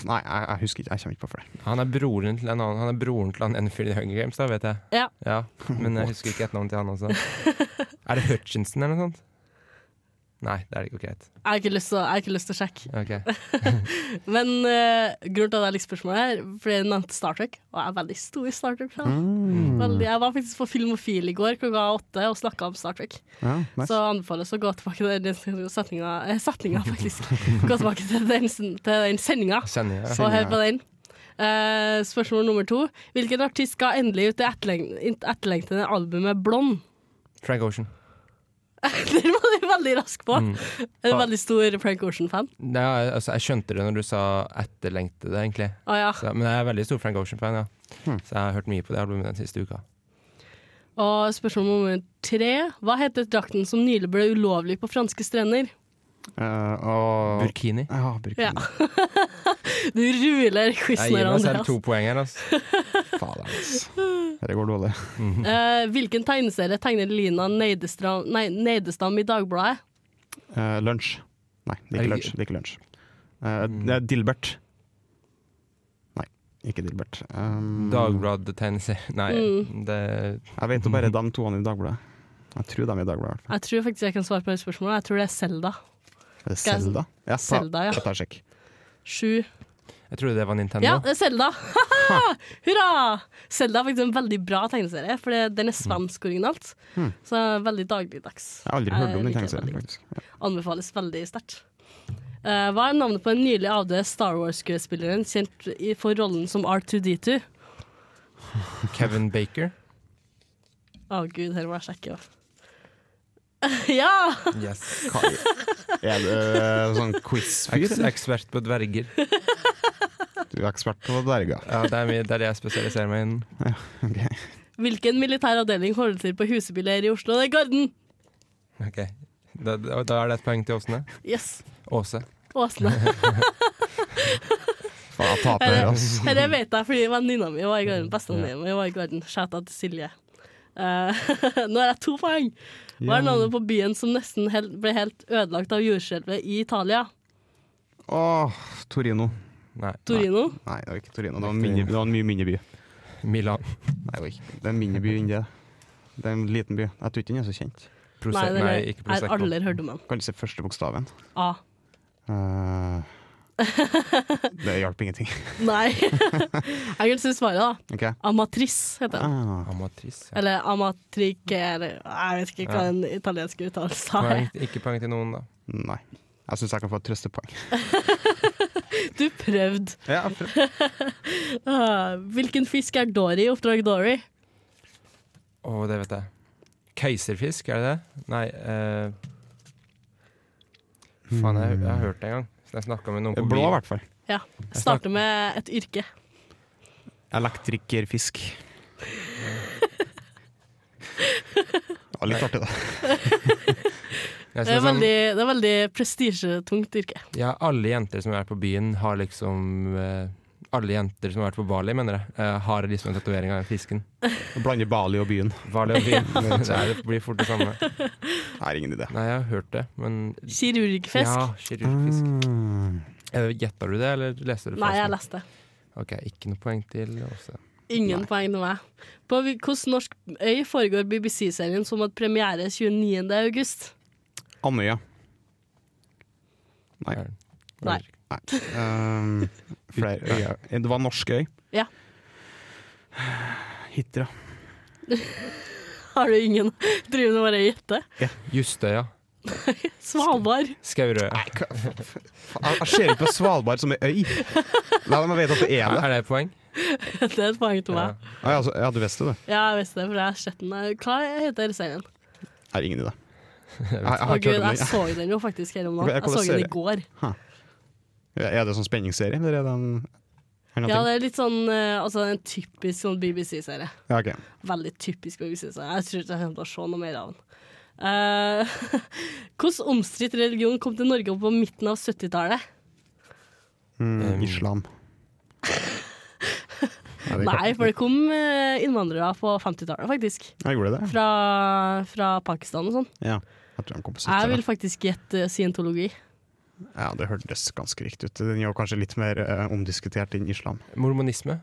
Speaker 3: nei, jeg, jeg husker ikke. Jeg kommer ikke på flere.
Speaker 6: Han er broren til en annen Han er broren til han ene fyren i Hunger Games, da, vet jeg.
Speaker 2: Ja.
Speaker 6: Ja, Men jeg husker ikke et navn til han også. Er det Hutchinson eller noe sånt? Nei, det er det ikke greit.
Speaker 2: Jeg har ikke lyst til å- jeg har ikke lyst til å sjekke.
Speaker 6: Ok.
Speaker 2: Men eh, grunnen til at jeg liker spørsmålet her, fordi jeg nevnte Star Trek, og jeg er veldig stor Star Trek-fan. Veldig- Jeg var faktisk på Filmofil i går klokka åtte og snakka om Star Trek.
Speaker 3: Ja, nice.
Speaker 2: Så anbefales å gå tilbake til den setninga, eh, setninga faktisk. Gå tilbake til den, sen- til den sendinga
Speaker 6: Sender jeg.
Speaker 2: og hør på den. Eh, spørsmål nummer to. Hvilken artist skal endelig ut det etterleng- etterlengtede albumet Blond?
Speaker 6: Frank Ocean.
Speaker 2: Den var du veldig rask på.
Speaker 6: Mm.
Speaker 2: Er du veldig stor Frank Ocean-fan?
Speaker 6: Nei, altså, jeg skjønte det når du sa etterlengtede, egentlig.
Speaker 2: Å ja.
Speaker 6: Så, men jeg er veldig stor Frank Ocean-fan, ja. Så jeg har hørt mye på det albumet den siste uka.
Speaker 2: Og spørsmål nummer tre. Hva heter drakten som nylig ble ulovlig på franske strender?
Speaker 3: Eh, og
Speaker 6: Burkini.
Speaker 3: Ja, Burkini.
Speaker 2: Ja. Du ruler
Speaker 6: Jeg
Speaker 2: quizen her,
Speaker 6: gir meg selv
Speaker 2: Andreas.
Speaker 6: to poeng her, altså.
Speaker 3: Fader, ass. Dette går dårlig.
Speaker 2: Eh, hvilken tegneserie tegner Lina Neidestra- nei, Neidestam i Dagbladet?
Speaker 3: Eh, lunsj. Nei, det er ikke
Speaker 6: Er det
Speaker 3: lunsj. Det er ikke lunsj. Eh, det er Dilbert. Nei, ikke Dilbert. Um,
Speaker 6: Dagbladet-tegneserie. Nei,
Speaker 2: Hmm.
Speaker 6: det
Speaker 3: Jeg vet jo bare de toene i Dagbladet. Jeg tror de er i Dagbladet. i hvert fall.
Speaker 2: Jeg tror faktisk jeg kan svare på det spørsmålet. Jeg tror det er Selda.
Speaker 3: Er det
Speaker 2: Skal jeg-
Speaker 3: Selda? Ja, ta-
Speaker 2: Zelda, ja.
Speaker 3: ta en sjekk.
Speaker 2: Sju.
Speaker 6: Jeg trodde det var Nintendo.
Speaker 2: Ja, det er Selda! Hurra! Selda er faktisk en veldig bra tegneserie, for det- den er svensk originalt. Så veldig dagligdags. Eh,
Speaker 3: Mm. Jeg har aldri hørt om den
Speaker 2: liker
Speaker 3: tegneserien,
Speaker 2: veldig.
Speaker 3: faktisk. Ja.
Speaker 2: Anbefales veldig sterkt. Eh, hva er navnet på den nylig avdøde Star Wars-skuespilleren kjent i- for rollen som R2D2?
Speaker 6: Kevin Baker.
Speaker 2: Å gud, her må jeg sjekke. også. ja!
Speaker 6: Yes.
Speaker 3: Er du eh, sånn quiz-fyr?
Speaker 6: Eks
Speaker 3: eller?
Speaker 6: ekspert på dverger.
Speaker 3: Du er ekspert på dverger.
Speaker 6: Ja, det, er mi- det er det jeg spesialiserer meg innen.
Speaker 3: Ok.
Speaker 2: Hvilken militær avdeling holder til på Huseby leir i Oslo? Det er Garden!
Speaker 6: Ok. Da, da da er det et poeng til Åsne.
Speaker 2: Yes.
Speaker 6: Åse.
Speaker 2: Åsne.
Speaker 3: Faen, jeg taper
Speaker 2: Eh.
Speaker 3: her, ass.
Speaker 2: Dette vet jeg fordi venninna mi var i Garden. Bestevenninna mi var i Garden. Skjæta til Silje. Eh, nå har jeg to poeng. Hva er navnet på byen som nesten helt, ble helt ødelagt av jordskjelvet i Italia?
Speaker 3: Åh, Torino.
Speaker 6: Nei.
Speaker 2: Torino?
Speaker 3: Nei, det var ikke Torino. Det var en, mindre, det var en mye mindre by.
Speaker 6: Milan.
Speaker 3: Nei, det, var ikke. det er en mindre by enn det. Det er en liten by. Jeg tror ikke den er så kjent.
Speaker 6: Prose nei,
Speaker 2: den er-
Speaker 6: ikke
Speaker 2: jeg har
Speaker 6: Prosecco.
Speaker 2: aldri hørt om den.
Speaker 3: Kan du se første bokstaven?
Speaker 2: A.
Speaker 3: Eh, det hjalp ingenting.
Speaker 2: Nei. jeg kan si svaret, da.
Speaker 3: Ok.
Speaker 2: Amatrice heter den.
Speaker 3: Ah,
Speaker 6: Amatrice. Ja.
Speaker 2: Eller amatrique, eller jeg vet ikke hva den italienske uttalelsen er.
Speaker 6: Poeng, ikke poeng til noen, da.
Speaker 3: nei. Jeg syns jeg kan få et trøstepoeng.
Speaker 2: Du prøvde.
Speaker 3: Ja,
Speaker 2: Ah, Hvilken fisk er Dory i Oppdrag Dory?
Speaker 6: Å, det vet jeg. Keiserfisk, er det det? Nei eh, Faen, jeg, jeg har hørt det en gang. Så jeg snakka med noen på
Speaker 3: Blå, i
Speaker 6: byen.
Speaker 3: hvert fall.
Speaker 2: Ja. Starter med et yrke.
Speaker 3: Elektrikerfisk. Ja, litt artig, da.
Speaker 2: Det er
Speaker 6: Jeg synes sånn-
Speaker 2: veldig, det er veldig prestisjetungt yrke.
Speaker 6: Ja, alle jenter som har vært på byen, har liksom eh, Alle jenter som har vært på Bali, mener jeg, eh, har liksom en tatovering av den fisken.
Speaker 3: Blande Bali og byen.
Speaker 6: Bali og byen. det, er, det blir fort det samme.
Speaker 3: Det er ingen idé.
Speaker 6: Nei, jeg har hørt det, men
Speaker 2: Kirurgfisk.
Speaker 6: Ja, kirurgfisk.
Speaker 3: Mm.
Speaker 6: Eh, Gjetta du det, eller leste du
Speaker 2: Nei, jeg
Speaker 6: fasiten?
Speaker 2: leste.
Speaker 6: Ok, ikke noe poeng til Åse.
Speaker 2: Ingen poeng til meg. På hvilken norsk øy foregår BBC-serien som hadde premiere 29. august?
Speaker 3: Andøya. Nei.
Speaker 6: Er den?
Speaker 2: Nei.
Speaker 3: Um, flere øyer. Eh, Det var norsk øy.
Speaker 2: Ja.
Speaker 3: Hitra.
Speaker 2: Har du ingen? Driver du bare og gjetter?
Speaker 6: Justøya.
Speaker 2: Svalbard.
Speaker 6: Skaurøya.
Speaker 3: Faen, Jeg ser ikke på Svalbard som ei øy! La meg vite at det er det.
Speaker 6: Er det et poeng?
Speaker 2: Det er et poeng til
Speaker 6: Ja.
Speaker 2: meg.
Speaker 3: Ah, ja, altså, ja, du visste det?
Speaker 2: Ja, jeg visste det, for jeg har sett den. Eh, Hva heter serien?
Speaker 3: Jeg har ingen idé. Jeg, jeg
Speaker 2: Å
Speaker 3: har
Speaker 2: gud,
Speaker 3: ikke hørt om
Speaker 2: jeg
Speaker 3: den.
Speaker 2: så den jo faktisk her om
Speaker 3: Ok,
Speaker 2: dagen.
Speaker 3: jeg
Speaker 2: Jeg så den
Speaker 3: kolliserer.
Speaker 2: i går.
Speaker 3: Er det sånn spenningsserie, eller er det en en annen
Speaker 2: Ja,
Speaker 3: ting?
Speaker 2: det er litt sånn eh, altså, en typisk sånn BBC-serie.
Speaker 3: Ja, ok.
Speaker 2: Veldig typisk BBC-serie. Jeg tror ikke jeg kommer til å se noe mer av den. Eh, hvordan omstridt religion kom til Norge på midten av 70-tallet?
Speaker 3: Mm,
Speaker 6: Um,
Speaker 3: Islam. Nei, det er
Speaker 2: Nei,
Speaker 3: klart.
Speaker 2: for det kom eh, innvandrere på 50-tallet, faktisk.
Speaker 3: Jeg gjorde det.
Speaker 2: Fra, fra Pakistan og sånn.
Speaker 3: Ja. Jeg tror de kom på
Speaker 2: Jeg
Speaker 3: 70-tallet.
Speaker 2: vil faktisk gjette eh, scientologi.
Speaker 3: Ja, det hørtes ganske riktig ut. Den er jo kanskje litt mer eh, omdiskutert enn islam.
Speaker 6: Mormonisme.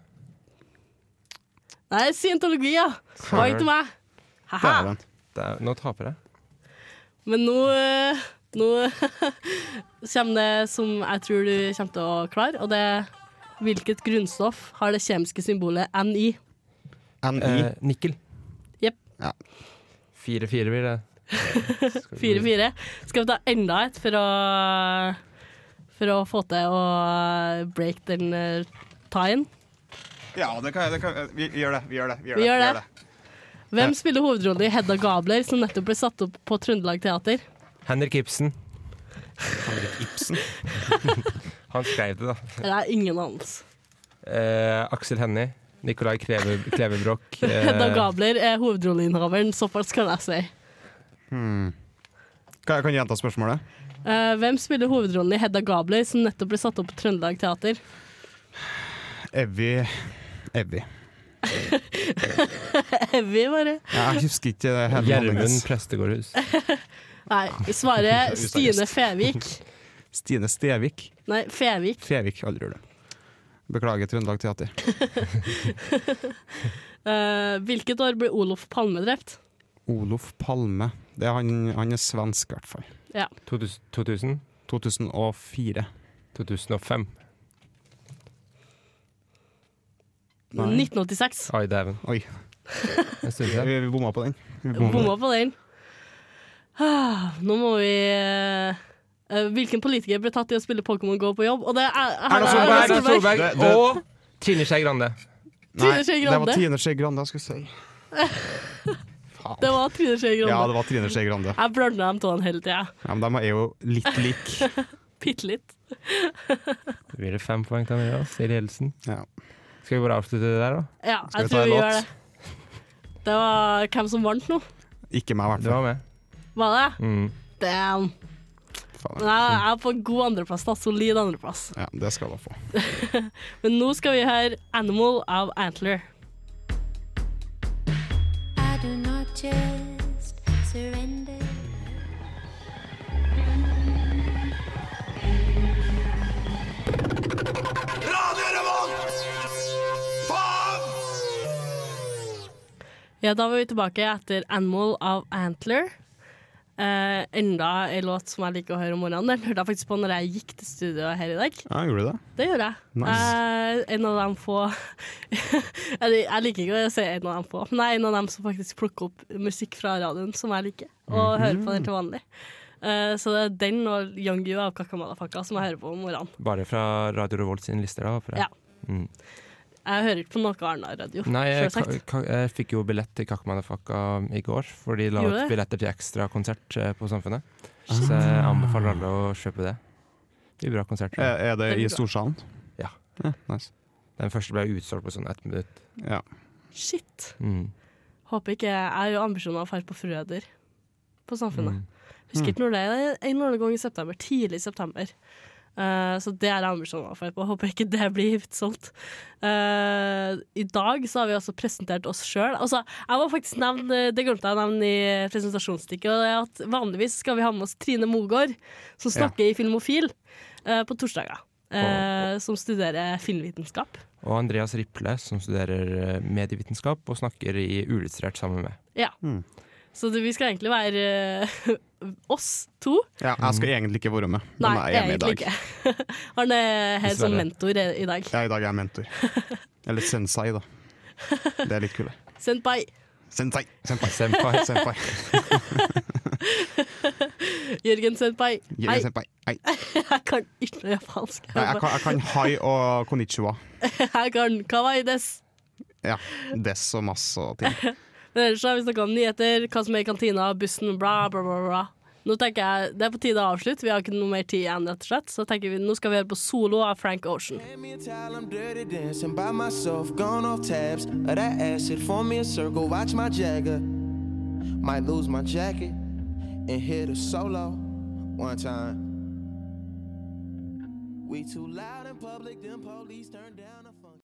Speaker 2: Nei, scientologi, ja! Poeng til meg.
Speaker 3: Det
Speaker 2: Haha.
Speaker 3: er den.
Speaker 6: Det er, nå taper jeg.
Speaker 2: Men nå eh, Nå kommer det som jeg tror du kommer til å klare, og det er hvilket grunnstoff har det kjemiske symbolet NI?
Speaker 3: NI.
Speaker 6: Eh, nikkel.
Speaker 2: Jepp.
Speaker 3: Ja.
Speaker 6: Fire-fire blir det. Skal vi-
Speaker 2: 4-4. Skal vi ta enda et for å, for å få til å break den eh, tien?
Speaker 3: Ja, det kan jeg. det kan jeg. Vi vi gjør det. Vi gjør det.
Speaker 2: Vi gjør det. Hvem spiller hovedrollen i Hedda Gabler, som nettopp ble satt opp på Trøndelag Teater?
Speaker 6: Henrik Ibsen. Han skrev det, da.
Speaker 2: Det er ingen anelse.
Speaker 6: Eh, Aksel Hennie. Nicolai Kleve, Klevebrok.
Speaker 2: Hedda
Speaker 6: Eh,
Speaker 2: Gabler er hovedrolleinnehaveren, såpass kan jeg si.
Speaker 3: Kan jeg kan jeg gjenta spørsmålet?
Speaker 2: Eh, hvem spiller hovedrollen i Hedda Gabler, som nettopp ble satt opp på Trøndelag Teater?
Speaker 3: Evy Evy.
Speaker 2: Evy, bare.
Speaker 3: Jeg husker ikke det hele
Speaker 6: Gjermund
Speaker 3: navnet.
Speaker 6: Prestegårdhus.
Speaker 2: Nei, svaret Stine Fevik.
Speaker 3: Stine Stevik.
Speaker 2: Nei, Fevik.
Speaker 3: Fevik. Aldri gjør det. Beklager, Trøndelag Teater.
Speaker 2: Eh, hvilket år ble Olof Palme drept?
Speaker 3: Olof Palme. Det er han, han er svensk, i hvert fall.
Speaker 6: 2000, 2000?
Speaker 3: 2004.
Speaker 6: 2005.
Speaker 3: Nei.
Speaker 2: 1986.
Speaker 6: Oi, dæven.
Speaker 3: Oi.
Speaker 6: En stund siden.
Speaker 3: Vi, vi bomma på den. Vi bomma på den.
Speaker 2: Bomma på den. Ah, Nå må vi eh, eh, Hvilken politiker ble tatt i å spille Pokémon Go på jobb? Og det er her
Speaker 3: Erna
Speaker 2: er
Speaker 3: Solberg!
Speaker 6: Erna Solberg
Speaker 3: Det- det-
Speaker 6: og Trine Skei Grande.
Speaker 2: Trine
Speaker 3: Nei,
Speaker 2: Skei
Speaker 3: Det var
Speaker 2: Grande.
Speaker 3: Trine Skei Grande jeg skulle si. Faen.
Speaker 2: Det var Trine Skei Grande.
Speaker 3: Ja, det var Trine Skei Grande.
Speaker 2: Jeg blanda dem to hele tida.
Speaker 3: Ja, men de er jo litt like.
Speaker 2: Bitte litt.
Speaker 6: Da blir det fem poeng til Andreas i ledelsen.
Speaker 3: Ja.
Speaker 6: Skal vi bare avslutte det der, da?
Speaker 2: Ja, jeg
Speaker 3: Skal vi ta
Speaker 2: tror
Speaker 3: en
Speaker 2: vi
Speaker 3: låt?
Speaker 2: gjør det. Det var hvem som vant nå?
Speaker 3: Ikke meg, i hvert
Speaker 6: Du var
Speaker 3: fall.
Speaker 6: med.
Speaker 2: Var det?
Speaker 6: Mm.
Speaker 2: Damn.
Speaker 3: Faen.
Speaker 2: Nei, jeg er på god andreplass, da. Solid andreplass.
Speaker 3: Ja, det skal de få.
Speaker 2: Men nå skal vi høre 'Animal' av Antler.
Speaker 5: I do not just surrender.
Speaker 2: Ja, da var vi tilbake etter 'Animal' av Antler. Eh, enda en låt som jeg liker å høre om morgenen. Den hørte jeg faktisk på når jeg gikk til studio her i dag.
Speaker 3: Ja, gjorde du det?
Speaker 2: Det gjorde jeg. Eh, en av dem få Eller, Jeg liker ikke å si en av dem få, men jeg er en av dem som faktisk plukker opp musikk fra radioen som jeg liker,
Speaker 6: Mhm.
Speaker 2: og hører på den til vanlig. Eh, så det er den og Young You av Kakamalafaka som jeg hører på om morgenen.
Speaker 6: Bare fra Radio Revolt sine lister, da? håper jeg.
Speaker 2: Ja.
Speaker 6: Mm.
Speaker 2: Jeg hører ikke på noe annet radio.
Speaker 6: Nei, jeg,
Speaker 2: selvsagt.
Speaker 6: ka- ka- jeg fikk jo billett til Kakmanafaka i går, for de la
Speaker 2: Gjorde
Speaker 6: ut
Speaker 2: det? Ah.
Speaker 6: billetter til ekstra konsert eh, på Samfunnet. Så jeg anbefaler alle å kjøpe det. Det blir bra konsert. tror jeg.
Speaker 3: Er, er det
Speaker 2: Veldig
Speaker 3: i
Speaker 2: bra.
Speaker 3: Storsalen?
Speaker 6: Ja.
Speaker 3: ja nice.
Speaker 6: Den første ble utsolgt på sånn ett minutt.
Speaker 3: Ja.
Speaker 2: Shit.
Speaker 6: Mm.
Speaker 2: Håper ikke Jeg har jo ambisjoner om å dra på Frøder på Samfunnet.
Speaker 6: Mm.
Speaker 2: Husker ikke når det er. det er En eller annen gang i september. Tidlig i september. Eh, så det er jeg ambisjoner for. Jeg håper ikke det blir utsolgt. Eh, I dag så har vi også presentert oss sjøl. Altså, jeg må faktisk nevne, det glemte jeg å nevne i presentasjonsstikket, og det er at vanligvis skal vi ha med oss Trine Mogård, som snakker i Filmofil, eh, på torsdager. eh, som studerer filmvitenskap.
Speaker 6: Og Andreas Riple, som studerer eh, medievitenskap og snakker i Uillustrert sammen med.
Speaker 2: Ja. Så det, vi skal egentlig være eh, oss to.
Speaker 3: Ja, jeg skal egentlig ikke være med, men
Speaker 2: Nei,
Speaker 3: jeg er med i
Speaker 2: egentlig
Speaker 3: dag.
Speaker 2: ikke. Han er her som
Speaker 6: Dessverre.
Speaker 2: mentor i i dag.
Speaker 3: Ja, i dag er jeg mentor. Eller sensei, da. Det er litt kulere.
Speaker 2: Senpai.
Speaker 3: Sensei! Senpai.
Speaker 6: Senpai.
Speaker 3: Senpai.
Speaker 2: Jørgen Senpai.
Speaker 3: Hei.
Speaker 2: Nei,
Speaker 3: Senpai. Hei.
Speaker 2: jeg kan ikke noe japansk.
Speaker 3: Nei, Jeg, kan, jeg kan hai og konnichiwa.
Speaker 2: Jeg kan kawaii des.
Speaker 3: Ja. Dess og masse og ting.
Speaker 2: Men ellers Eh, så har vi snakka om nyheter, hva som er i kantina, bussen, bla, bla, bla. bla. Nå tenker jeg, Det er på tide å avslutte, vi har ikke noe mer tid igjen. rett og slett Så tenker vi, Nå skal vi høre på solo av Frank Ocean.
Speaker 8: Hand me a towel, I'm dirty dancing by myself, gone off tabs of that acid. Form me a circle, watch my jagger. Might lose my jacket and hit a solo one time. We too loud in public, them police turn down the phone.